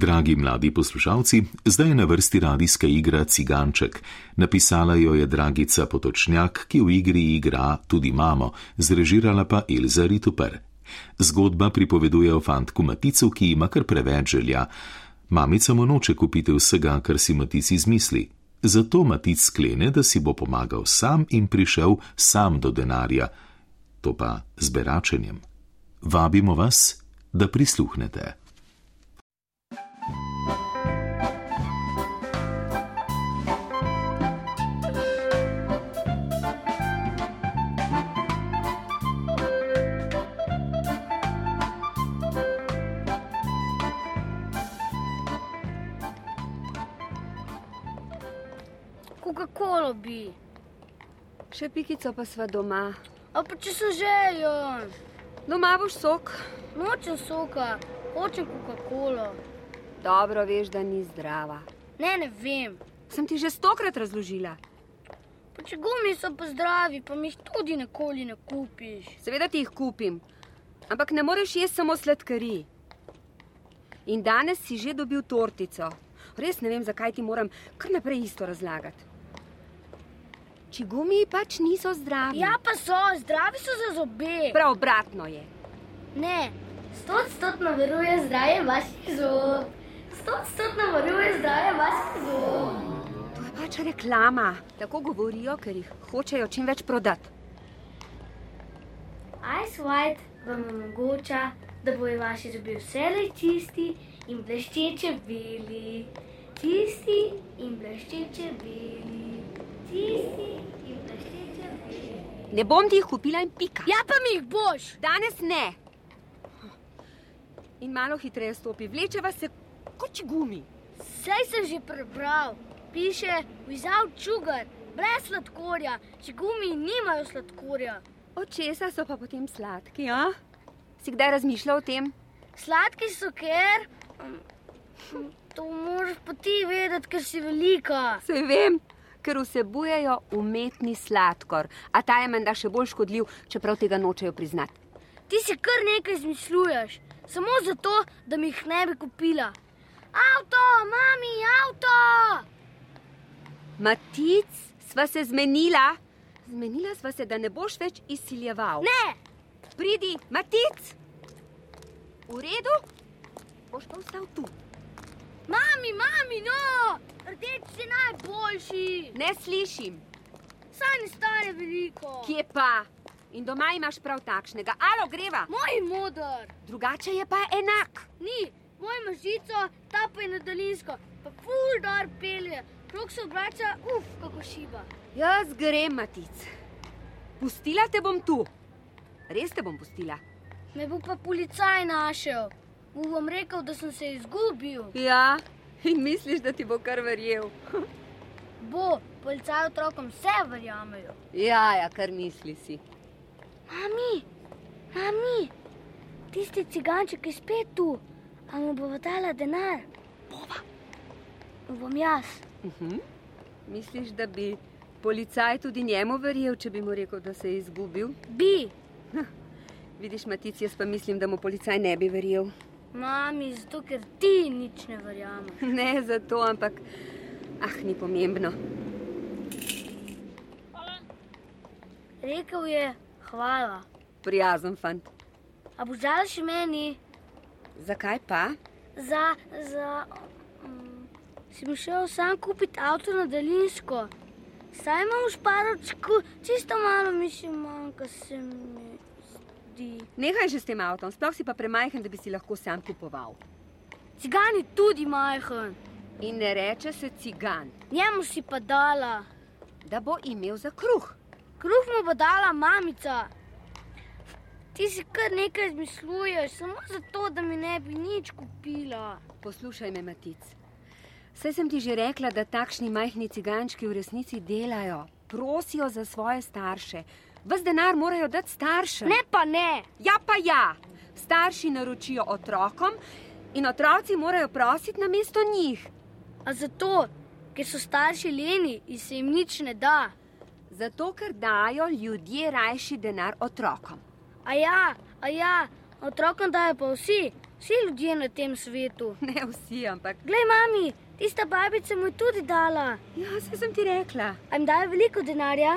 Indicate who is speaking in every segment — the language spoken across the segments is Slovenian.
Speaker 1: Dragi mladi poslušalci, zdaj je na vrsti radijska igra Ciganček. Napisala jo je Dragica Potočnjak, ki v igri igra tudi mamo, zrežirala pa Elza Rituper. Zgodba pripoveduje o fantku Maticu, ki ima kar preveč želja. Mamica mu noče kupiti vsega, kar si Matic izmisli. Zato Matic sklene, da si bo pomagal sam in prišel sam do denarja, to pa z beračenjem. Vabimo vas, da prisluhnete.
Speaker 2: Coca-Cola bi.
Speaker 3: Še pikico pa sva doma.
Speaker 2: A pa če se želim,
Speaker 3: Doma boš sok.
Speaker 2: nočem soka, hočem Coca-Cola.
Speaker 3: Dobro veš, da ni zdrava.
Speaker 2: Ne, ne vem.
Speaker 3: Sem ti že stokrat razložila.
Speaker 2: Pa če gumi so pa zdravi, pa mi jih tudi nikoli ne kupiš.
Speaker 3: Seveda ti jih kupim, ampak ne moreš jesti samo sladkari. In danes si že dobil tortico. Res ne vem, zakaj ti moram kar naprej isto razlagati. Čigumi pač niso zdravi.
Speaker 2: Ja, pa so, zdravi so za zobe.
Speaker 3: prav obratno je.
Speaker 2: Ne, stotstotno veruje zdravje vaših zob. Stotstotno veruje zdravje vaših zob.
Speaker 3: To je pač reklama. Tako govorijo, ker jih hočejo čim več prodati.
Speaker 2: Ice White vam omogoča, da bojo vaši zobje vselej čisti in bleščeče beli. Čisti in bleščeče beli. Čisti in bleščeče beli.
Speaker 3: Ne bom ti jih kupila in pika.
Speaker 2: Ja, pa mi jih boš!
Speaker 3: Danes ne. In malo hitreje stopi, vlečeva se kot gumi.
Speaker 2: Sej sem že prebral, piše Vizav Čugar, brez sladkorja, če gumi nimajo sladkorja.
Speaker 3: Od česa so pa potem sladki, a? Si kdaj razmišljal o tem?
Speaker 2: Sladki so, ker. um, um, To moraš pa ti vedeti, ker si velika.
Speaker 3: Se vem, ker vsebujejo umetni sladkor, a ta je menda še bolj škodljiv, čeprav tega nočejo priznati.
Speaker 2: Ti si kar nekaj izmišljuješ, samo zato, da mi jih ne bi kupila. Avto, mami, avto!
Speaker 3: Matic, sva se zmenila. Zmenila sva se, da ne boš več izsiljeval.
Speaker 2: Ne,
Speaker 3: Pridi, Matic! V redu, boš pa ostal tu.
Speaker 2: mami, mami, no! Rdeč si najboljši,
Speaker 3: Ne slišim.
Speaker 2: saj ne stane veliko.
Speaker 3: Kje pa? In doma imaš prav takšnega, alo greva,
Speaker 2: Moj je modr,
Speaker 3: drugače je pa enak.
Speaker 2: ni, moj ima žico, ta pa je nadaljinsko, pa ful dar pelje, krok se obrača, uf, kako šiba.
Speaker 3: Jaz grem, Matic. Pustila te bom tu. Res te bom pustila.
Speaker 2: Me bo pa policaj našel, mu bom rekel, da sem se izgubil.
Speaker 3: Ja, in misliš, da ti bo kar verjel.
Speaker 2: Bo, policaj otrokom vse verjamejo.
Speaker 3: Ja, ja, kar misli si.
Speaker 2: Mami, mami, tisti ciganček je spet tu, a mu bo dala denar. Bova. Bom jaz.
Speaker 3: Uh -huh. Misliš, da bi policaj tudi njemu verjel, če bi mu rekel, da se je izgubil?
Speaker 2: Bi.
Speaker 3: Vidiš, Matic, jaz pa mislim, da mu policaj ne bi verjel.
Speaker 2: Mami, zato ker ti nič ne verjamem.
Speaker 3: Ne zato, ampak ah, ni pomembno.
Speaker 2: Rekel je, hvala.
Speaker 3: Prijazen fant.
Speaker 2: A boš dal še meni
Speaker 3: Zakaj pa?
Speaker 2: za. za um, si mi šel sam kupiti avto na daljinsko. Saj imam v šparočku, čisto malo mi še manjka, se mi zdi.
Speaker 3: Nehaj že s tem avtom, sploh si pa premajhen, da bi si lahko sam kupoval.
Speaker 2: Cigani tudi majhen,
Speaker 3: In ne reče se cigan,
Speaker 2: njemu si pa dala.
Speaker 3: da bo imel za kruh.
Speaker 2: Kruh mu bo dala mamica. Ti si kar nekaj izmišljuješ, samo zato, da mi ne bi nič kupila.
Speaker 3: Ja. Poslušaj me, Matic. Saj sem ti že rekla, da takšni majhni cigančki v resnici delajo, prosijo za svoje starše. Ves denar morajo dati staršem.
Speaker 2: Ne, pa ne.
Speaker 3: Ja, pa ja. Starši naročijo otrokom in otroci morajo prositi na mesto njih.
Speaker 2: A zato, ker so starši leni in se jim nič ne da.
Speaker 3: Zato, ker dajo ljudje rajši denar otrokom.
Speaker 2: A ja, a ja, Otrokom dajo pa vsi, vsi ljudje na tem svetu.
Speaker 3: Ne vsi, ampak.
Speaker 2: Glej, mami, tista babica mu je tudi dala.
Speaker 3: Ja, se sem ti rekla.
Speaker 2: A jim dajo veliko denarja?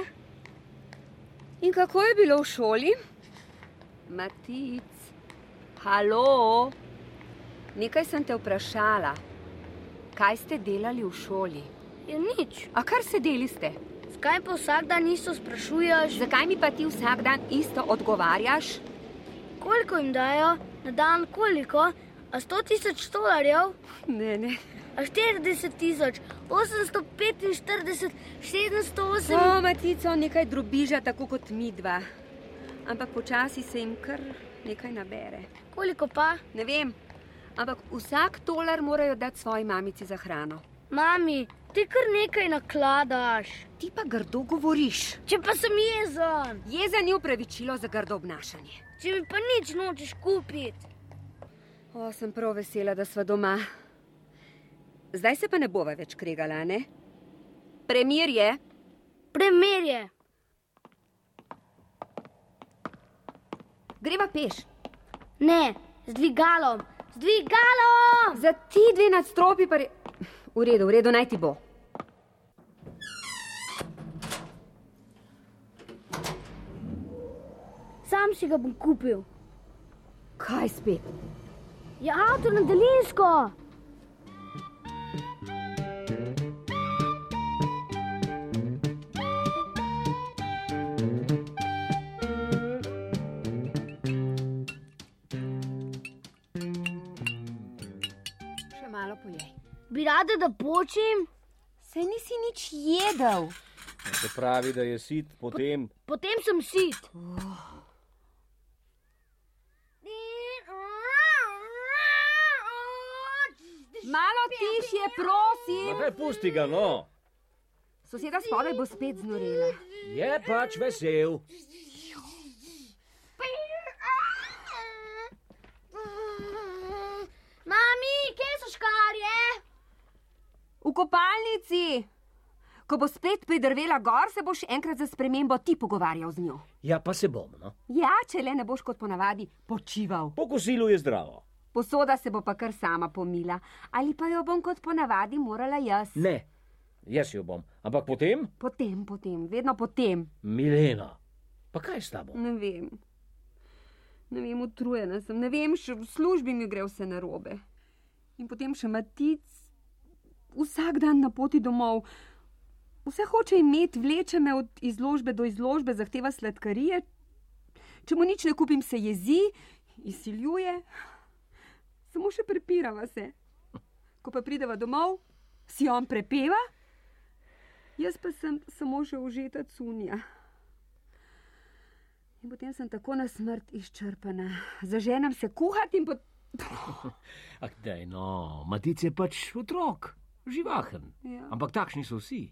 Speaker 3: In kako je bilo v šoli? Matic, halo. Nekaj sem te vprašala. Kaj ste delali v šoli?
Speaker 2: Je Ja, nič.
Speaker 3: A kar sedeli ste?
Speaker 2: Zakaj pa vsak dan isto sprašuješ,
Speaker 3: Zakaj mi pa ti vsak dan isto odgovarjaš?
Speaker 2: koliko jim dajo, na dan koliko, a 100 tisoč dolarjev,
Speaker 3: Ne, ne.
Speaker 2: a 40 tisoč, 845, 708.
Speaker 3: Samo matico nekaj drobiža, tako kot mi dva. Ampak počasi se jim kar nekaj nabere.
Speaker 2: Koliko pa?
Speaker 3: Ne vem, ampak vsak dolar morajo dati svoji mamici za hrano.
Speaker 2: Mami, ti kar nekaj nakladaš.
Speaker 3: Ti pa grdo govoriš.
Speaker 2: Če pa sem jezen,
Speaker 3: Jeza ni upravičilo za grdo obnašanje.
Speaker 2: če mi pa nič nočeš kupiti.
Speaker 3: O, sem prav vesela, da sva doma. Zdaj se pa ne bova več kregala, a ne? Premir je.
Speaker 2: Premerje.
Speaker 3: Greva peš.
Speaker 2: Ne, z dvigalom, z dvigalom.
Speaker 3: Za ti dve nadstropi pa je. V redu, v redu, naj ti bo.
Speaker 2: Sam si ga bom kupil.
Speaker 3: Kaj spet?
Speaker 2: Je avto na delinsko.
Speaker 3: Še malo pojej.
Speaker 2: Bi rada, da počim,
Speaker 3: Saj nisi nič jedel.
Speaker 4: Se pravi, da je sit, potem
Speaker 2: potem sem sit.
Speaker 3: Malo tišje, prosim.
Speaker 4: pa kaj pusti ga, no.
Speaker 3: Soseda spodaj bo spet znorela.
Speaker 4: Je pač vesel.
Speaker 2: Mami, kje so škarje?
Speaker 3: V kopalnici. Ko bo spet pridrvela gor, se boš enkrat za spremembo ti pogovarjal z njo.
Speaker 4: Ja, pa se bom, no.
Speaker 3: Ja, če le ne boš kot ponavadi počival.
Speaker 4: Po kosilu je zdravo.
Speaker 3: Posoda se bo pa kar sama pomila, ali pa jo bom kot ponavadi morala jaz.
Speaker 4: Ne, jaz jo bom. Ampak potem,
Speaker 3: Potem, potem, vedno potem.
Speaker 4: Milena, pa kaj s tabo?
Speaker 3: Ne vem. Ne vem, utrujena sem, ne vem, še v službi mi gre vse narobe. In potem še matic, vsak dan na poti domov. Vse hoče imeti, vleče me od izložbe do izložbe, zahteva sladkarije. Če mu nič ne kupim, se jezi, izsiljuje. Samo še prepirava se. Ko pa prideva domov, si on prepeva, jaz pa sem samo še užeta cunja. In potem sem tako na smrt izčrpana. Zaženem se kuhati in potem.
Speaker 4: Ah, daj, no, Matic je pač otrok, živahen.
Speaker 3: Ja.
Speaker 4: Ampak takšni so vsi.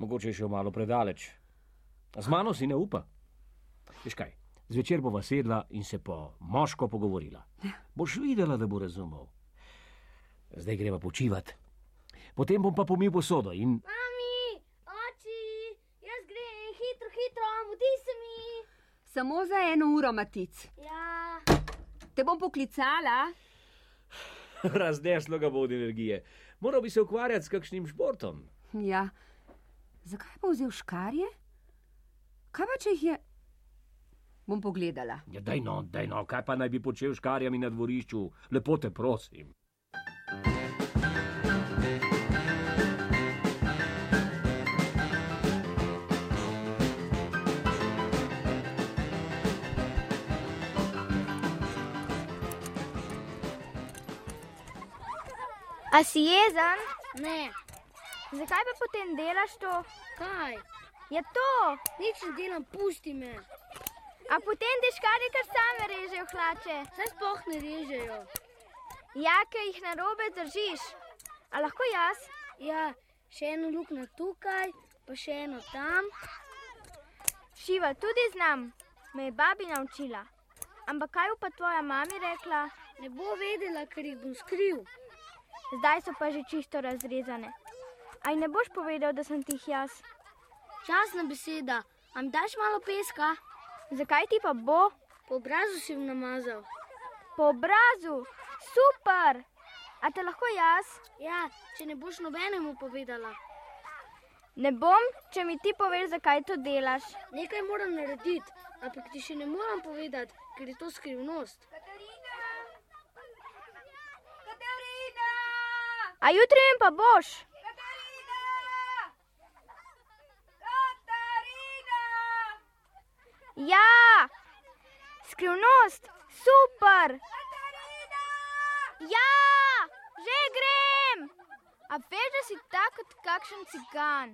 Speaker 4: Mogoče je šel malo predaleč. Z mano si ne upa. Veš kaj, zvečer bova sedla in se po moško pogovorila. Boš videla, da bo razumel. Zdaj greva počivati. Potem bom pa pomil posodo in
Speaker 2: Mami, oči, jaz grem hitro, hitro, mudi se mi.
Speaker 3: Samo za eno uro, matic.
Speaker 2: Ja,
Speaker 3: Te bom poklicala.
Speaker 4: razneslo ga bo od energije. Moral bi se ukvarjati s kakšnim športom.
Speaker 3: Ja. Zakaj pa vzel škarje? Kaj pa če jih je? Bom pogledala.
Speaker 4: Ja, daj no, daj no, kaj pa naj bi počel s škarjami na dvorišču, lepo te prosim.
Speaker 5: A si jezen?
Speaker 2: ne,
Speaker 5: Zakaj pa potem delaš to?
Speaker 2: kaj,
Speaker 5: Je to,
Speaker 2: nič ne delam, pusti me.
Speaker 5: a potem deškari kar same režejo hlače.
Speaker 2: Saj sploh ne režejo.
Speaker 5: Ja, ker jih na robe držiš. A lahko jaz?
Speaker 2: Ja, še eno luknjo tukaj, pa še eno tam.
Speaker 5: Šiva tudi znam, me je babi naučila. Ampak kaj bo pa tvoja mami rekla?
Speaker 2: Ne bo vedela, ker jih bom skril.
Speaker 5: Zdaj so pa že čisto razrezane. Aj ne boš povedal, da sem ti jih jaz.
Speaker 2: Časna beseda, am daš malo peska?
Speaker 5: Zakaj ti pa bo?
Speaker 2: Po obrazu si jim namazal.
Speaker 5: Po obrazu, super! A te lahko jaz?
Speaker 2: Ja, če ne boš nobenemu povedala,
Speaker 5: Ne bom, če mi ti poveš, zakaj to delaš.
Speaker 2: nekaj moram narediti, ampak ti še ne moram povedati, ker je to skrivnost.
Speaker 5: A jutri jim pa boš. Ja, skrivnost, super. Ja, že grem. A veš, da si tak kot kakšen cigan.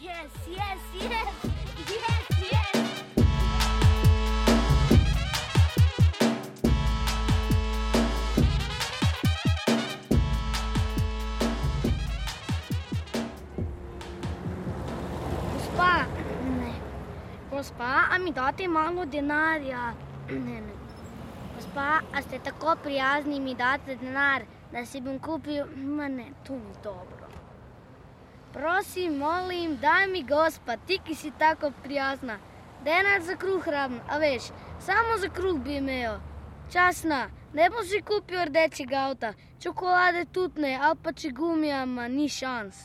Speaker 2: Yes, yes, yes, yes, yes. Gospa, ne. Gospa, a mi date malo denarja? Ne, ne. Gospa, a ste tako prijazni, mi date denar, da si bom kupil? Ma ne, to ni dobro. Prosim, molim, daj mi gospa, ti ki si tako prijazna. Denar za kruh rabim, a veš, samo za kruh bi imel. Časna, ne bom si kupil rdečega avta, čokolade tudi ne, ali pa če gumija, ma ni šans.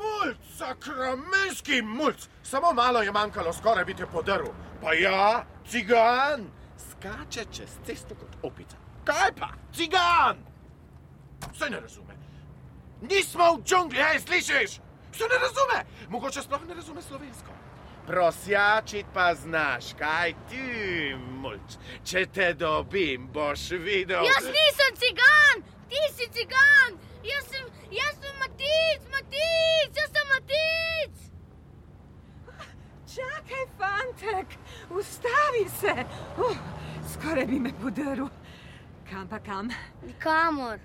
Speaker 6: Mulc, sakramenski mulc, samo malo je manjkalo, skoraj bi te podaril. Pa ja, cigan, skače čez cesto kot opica. Kaj pa, cigan? Vse ne razume. Nismo v džungli, hej, slišiš? Vse ne razume, mogoče sploh ne razume slovensko. Prosjačit pa znaš, kaj ti, mulč. Če te dobim, boš videl.
Speaker 2: nisem cigan, ti si cigan, jaz sem, jaz sem matic, matic, jaz sem matic.
Speaker 3: Čakaj, fantek, ustavi se. Uh, skoraj bi me podaril. Kam pa kam?
Speaker 2: Nikamor,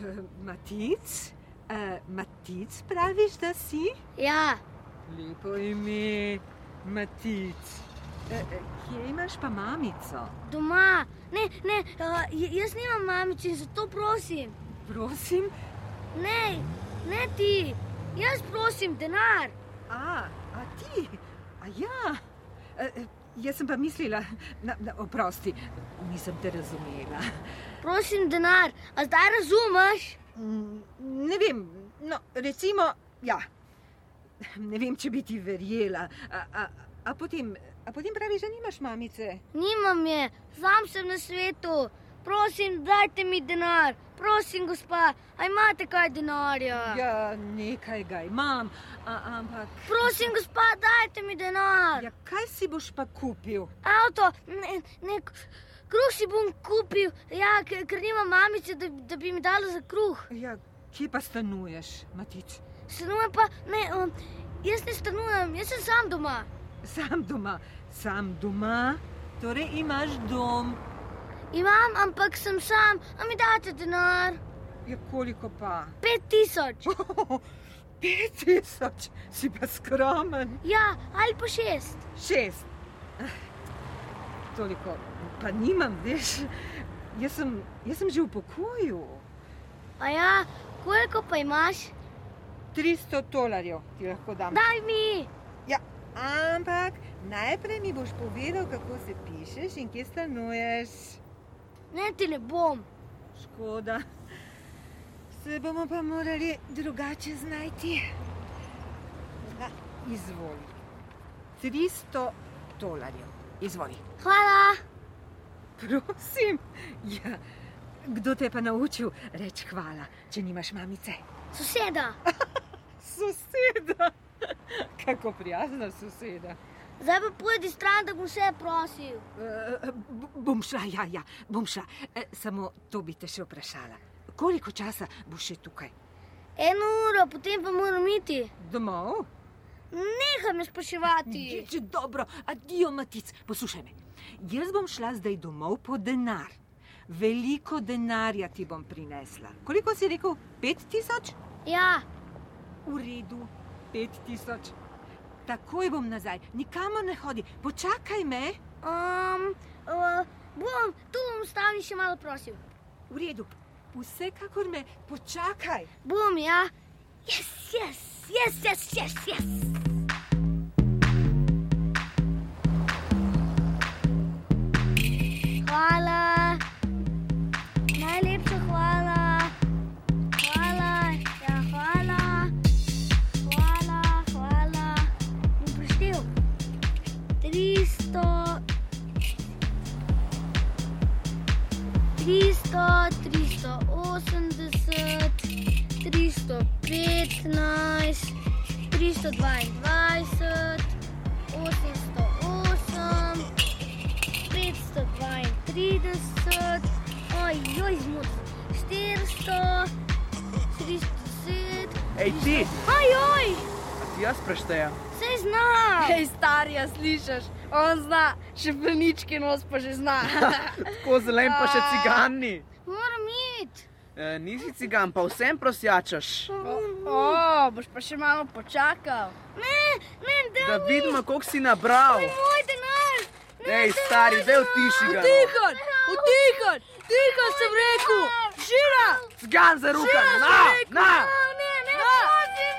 Speaker 3: Eh, Matic? Eh, Matic praviš, da si?
Speaker 2: ja,
Speaker 3: Lepo ime, Matic. Eh, eh, Kje imaš pa mamico?
Speaker 2: doma, ne, ne, uh, jaz nimam mamice in zato prosim.
Speaker 3: Prosim,
Speaker 2: Ne, ne ti, jaz prosim denar.
Speaker 3: a, a ti? A ja. Eh, eh, Jaz sem pa mislila, na, na, oprosti, nisem te razumela.
Speaker 2: Prosim denar, a zdaj razumeš?
Speaker 3: Mm, Ne vem, no, recimo, ja. Ne vem, če bi ti verjela. A, a, a, potem, a potem praviš, da nimaš mamice.
Speaker 2: Nimam je, sam sem na svetu. Prosim, dajte mi denar, prosim, gospa, a imate kaj denarja?
Speaker 3: Ja, nekaj ga imam, a, ampak.
Speaker 2: Prosim, gospa, dajte mi denar.
Speaker 3: Ja, kaj si boš pa kupil?
Speaker 2: Avto, ne, ne, kruh si bom kupil, ja, ker, ker nimam mamice, da, da bi mi dala za kruh.
Speaker 3: Ja, kje pa stanuješ, Matič?
Speaker 2: Stanujem pa, ne, um, jaz ne stanujem, jaz sem sam doma.
Speaker 3: Sam doma, sam doma, torej imaš dom.
Speaker 2: Imam, ampak sem sam, a mi date denar?
Speaker 3: Ja, koliko pa?
Speaker 2: Pet tisoč.
Speaker 3: Pet tisoč, si pa skromen.
Speaker 2: Ja, ali pa šest.
Speaker 3: Šest. Ah, Toliko pa nimam, veš. Jaz sem, jaz sem že v pokoju.
Speaker 2: A ja, koliko pa imaš?
Speaker 3: 300 dolarjev ti lahko dam.
Speaker 2: Daj mi!
Speaker 3: Ja, ampak najprej mi boš povedal, kako se pišeš in kje stanuješ.
Speaker 2: Ne, ti ne bom.
Speaker 3: Škoda. Se bomo pa morali drugače znajti. Da, izvoli. 300 dolarjev. Izvoli.
Speaker 2: Hvala.
Speaker 3: Prosim, ja. kdo te je pa naučil reči hvala, če nimaš mamice?
Speaker 2: Soseda,
Speaker 3: Soseda, kako prijazna soseda.
Speaker 2: zdaj pa pojdi stran, da bom vse prosil.
Speaker 3: Uh, bom šla, ja, ja, bom šla. E, samo to bi te še vprašala. Koliko časa boš še tukaj?
Speaker 2: Eno uro, potem pa moram iti.
Speaker 3: Domov?
Speaker 2: Nehaj me spraševati.
Speaker 3: Če E dobro, adijo, matic, poslušaj me. Jaz bom šla zdaj domov po denar. Veliko denarja ti bom prinesla. Koliko si rekel? Pet tisoč?
Speaker 2: Ja,
Speaker 3: V redu, pet tisoč. Takoj bom nazaj, nikamor ne hodi, počakaj me.
Speaker 2: um, uh, bom, tu bom stal in še malo prosil.
Speaker 3: V redu, vsekakor me počakaj.
Speaker 2: Bom, ja. Yes, yes, yes, yes, yes, yes. 300, 380, 315, 322, 808, 532, ojoj, zmot, 400, 310,
Speaker 7: Ej, ti,
Speaker 2: ajoj,
Speaker 7: a ti jaz preštejem.
Speaker 2: se znam.
Speaker 8: Hej, starja, slišiš? On zna, še plenički nos pa že zna.
Speaker 7: Tako zelen pa še cigani.
Speaker 2: Moram iti.
Speaker 7: E, nisi cigan, pa vsem prosjačaš.
Speaker 8: O, boš pa še malo počakal.
Speaker 2: Ne, ne, da
Speaker 7: Da vidimo, koliko si nabral.
Speaker 2: moj denar.
Speaker 7: Ej, stari, del tiši ga.
Speaker 8: Utihaj, utihaj, tiho sem rekel, žira!
Speaker 7: Cigan za ruka, na, na!
Speaker 2: Ne, ne,
Speaker 8: prosim,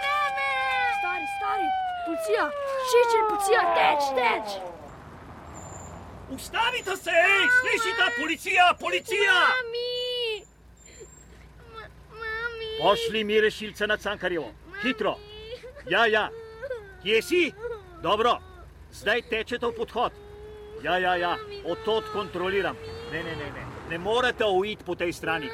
Speaker 8: Stari, stari, policija, šečer, policija, teč, teč!
Speaker 4: Ustavite se, ej, slišite, policija, policija!
Speaker 2: Mami! Ma- Mami!
Speaker 9: Pošli mi rešilce na Cankarjevo, hitro. Ja, ja, kje si? Dobro, zdaj tečete v podhod. Ja, ja, ja, odtot kontroliram. Ne, ne, ne, ne, ne morete uiti po tej strani.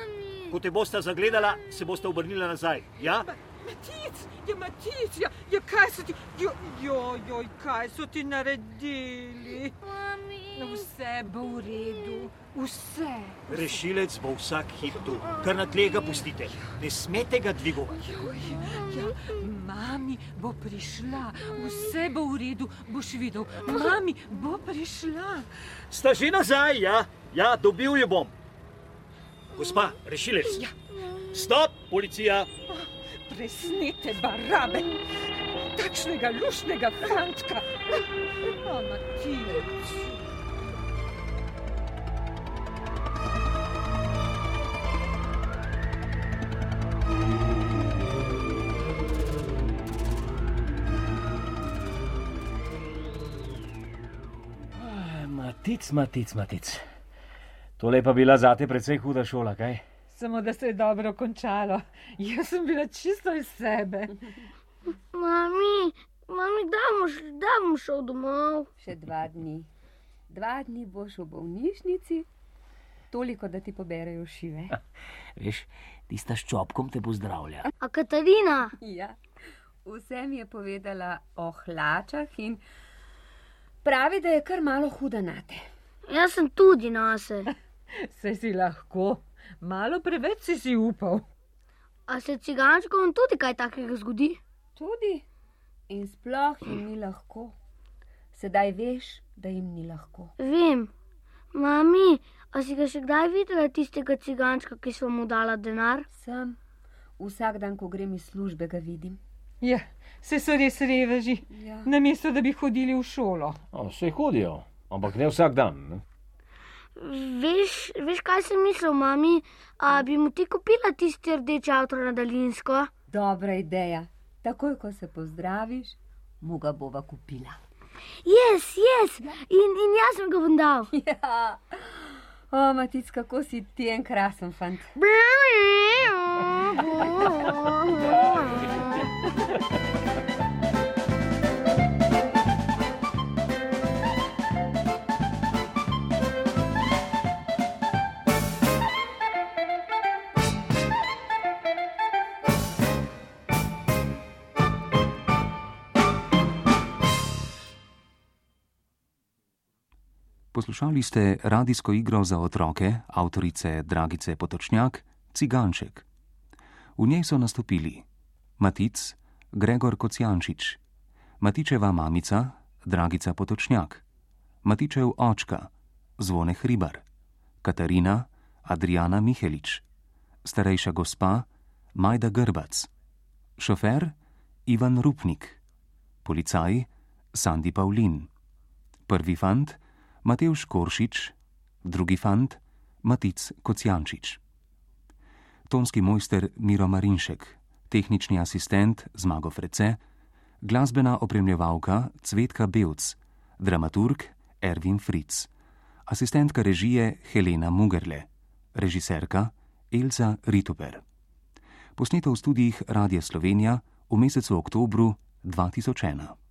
Speaker 9: Ko te boste zagledala, se boste obrnila nazaj. Ja?
Speaker 10: Matic, je matic, ja, ja, kaj so ti, jo, jo, jo, kaj so ti naredili?
Speaker 2: Mami!
Speaker 10: No, vse bo v redu, vse.
Speaker 9: Rešilec bo vsak hip tu, kar na tle ga pustite. Ne smete ga dvigovati.
Speaker 10: Joj, ja, mami bo prišla, vse bo v redu, boš videl, mami bo prišla.
Speaker 9: Sta že nazaj, ja, ja, dobil jo bom. Gospa, rešilec. Stop, policija!
Speaker 10: Presnite barabe, takšnega lušnega fantka. O, Matic.
Speaker 4: Matic, matic, matic. Tole je pa bila zate precej huda šola, kaj?
Speaker 10: Samo da se je dobro končalo. Jaz sem bila čisto iz sebe.
Speaker 2: Mami! Mami, da bom, š- da bom šel domov.
Speaker 3: Še dva dni. Dva dni boš v bolnišnici, toliko, da ti poberajo šive.
Speaker 4: Veš, tista s čopkom te pozdravlja.
Speaker 2: A Katarina?
Speaker 3: Ja. Vse mi je povedala o hlačah in pravi, da je kar malo huda na te.
Speaker 2: Jaz sem tudi nase.
Speaker 10: Saj si lahko, malo preveč si si upal.
Speaker 2: A se cigančkom tudi kaj takega zgodi?
Speaker 3: Tudi in sploh jim ni lahko. Sedaj veš, da jim ni lahko.
Speaker 2: Vem. Mami, a si ga še kdaj videla tistega cigančka, ki sem mu dala denar?
Speaker 3: Sem vsak dan, ko grem iz službe, ga vidim.
Speaker 10: Ja, se so res reveži,
Speaker 3: Ja.
Speaker 10: namesto da bi hodili v šolo.
Speaker 4: O, se hodijo, ampak ne vsak dan. Ne?
Speaker 2: Veš, veš kaj sem mislil, mami? A bi mu ti kupila tisti rdeč avto na daljinsko?
Speaker 3: Dobra ideja. Takoj, ko se pozdraviš, mu ga bova kupila.
Speaker 2: Jaz, jaz in, in jaz sem ga bom dal.
Speaker 3: Ja. O, Matic, kako si ti en krasen fant.
Speaker 11: Poslušali ste radijsko igro za otroke avtorice Dragice Potočnjak Ciganček. V njej so nastopili Matic, Gregor Kocijančič, Matičeva mamica Dragica Potočnjak, Matičev očka Zvone Hribar, Katarina Adriana Mihelič, starejša gospa Majda Grbac, šofer Ivan Rupnik, policaj Sandi Pavlin. Prvi fant Matevž Koršič, drugi fant Matic Kocijančič. Tonski mojster Miro Marinšek, tehnični asistent Zmago Frece, glasbena opremljevalka Cvetka Belc, dramaturg Ervin Fritz, asistentka režije Helena Mugerle, režiserka Elza Rituper. Posneto v studijih Radia Slovenija v mesecu oktobru 2001.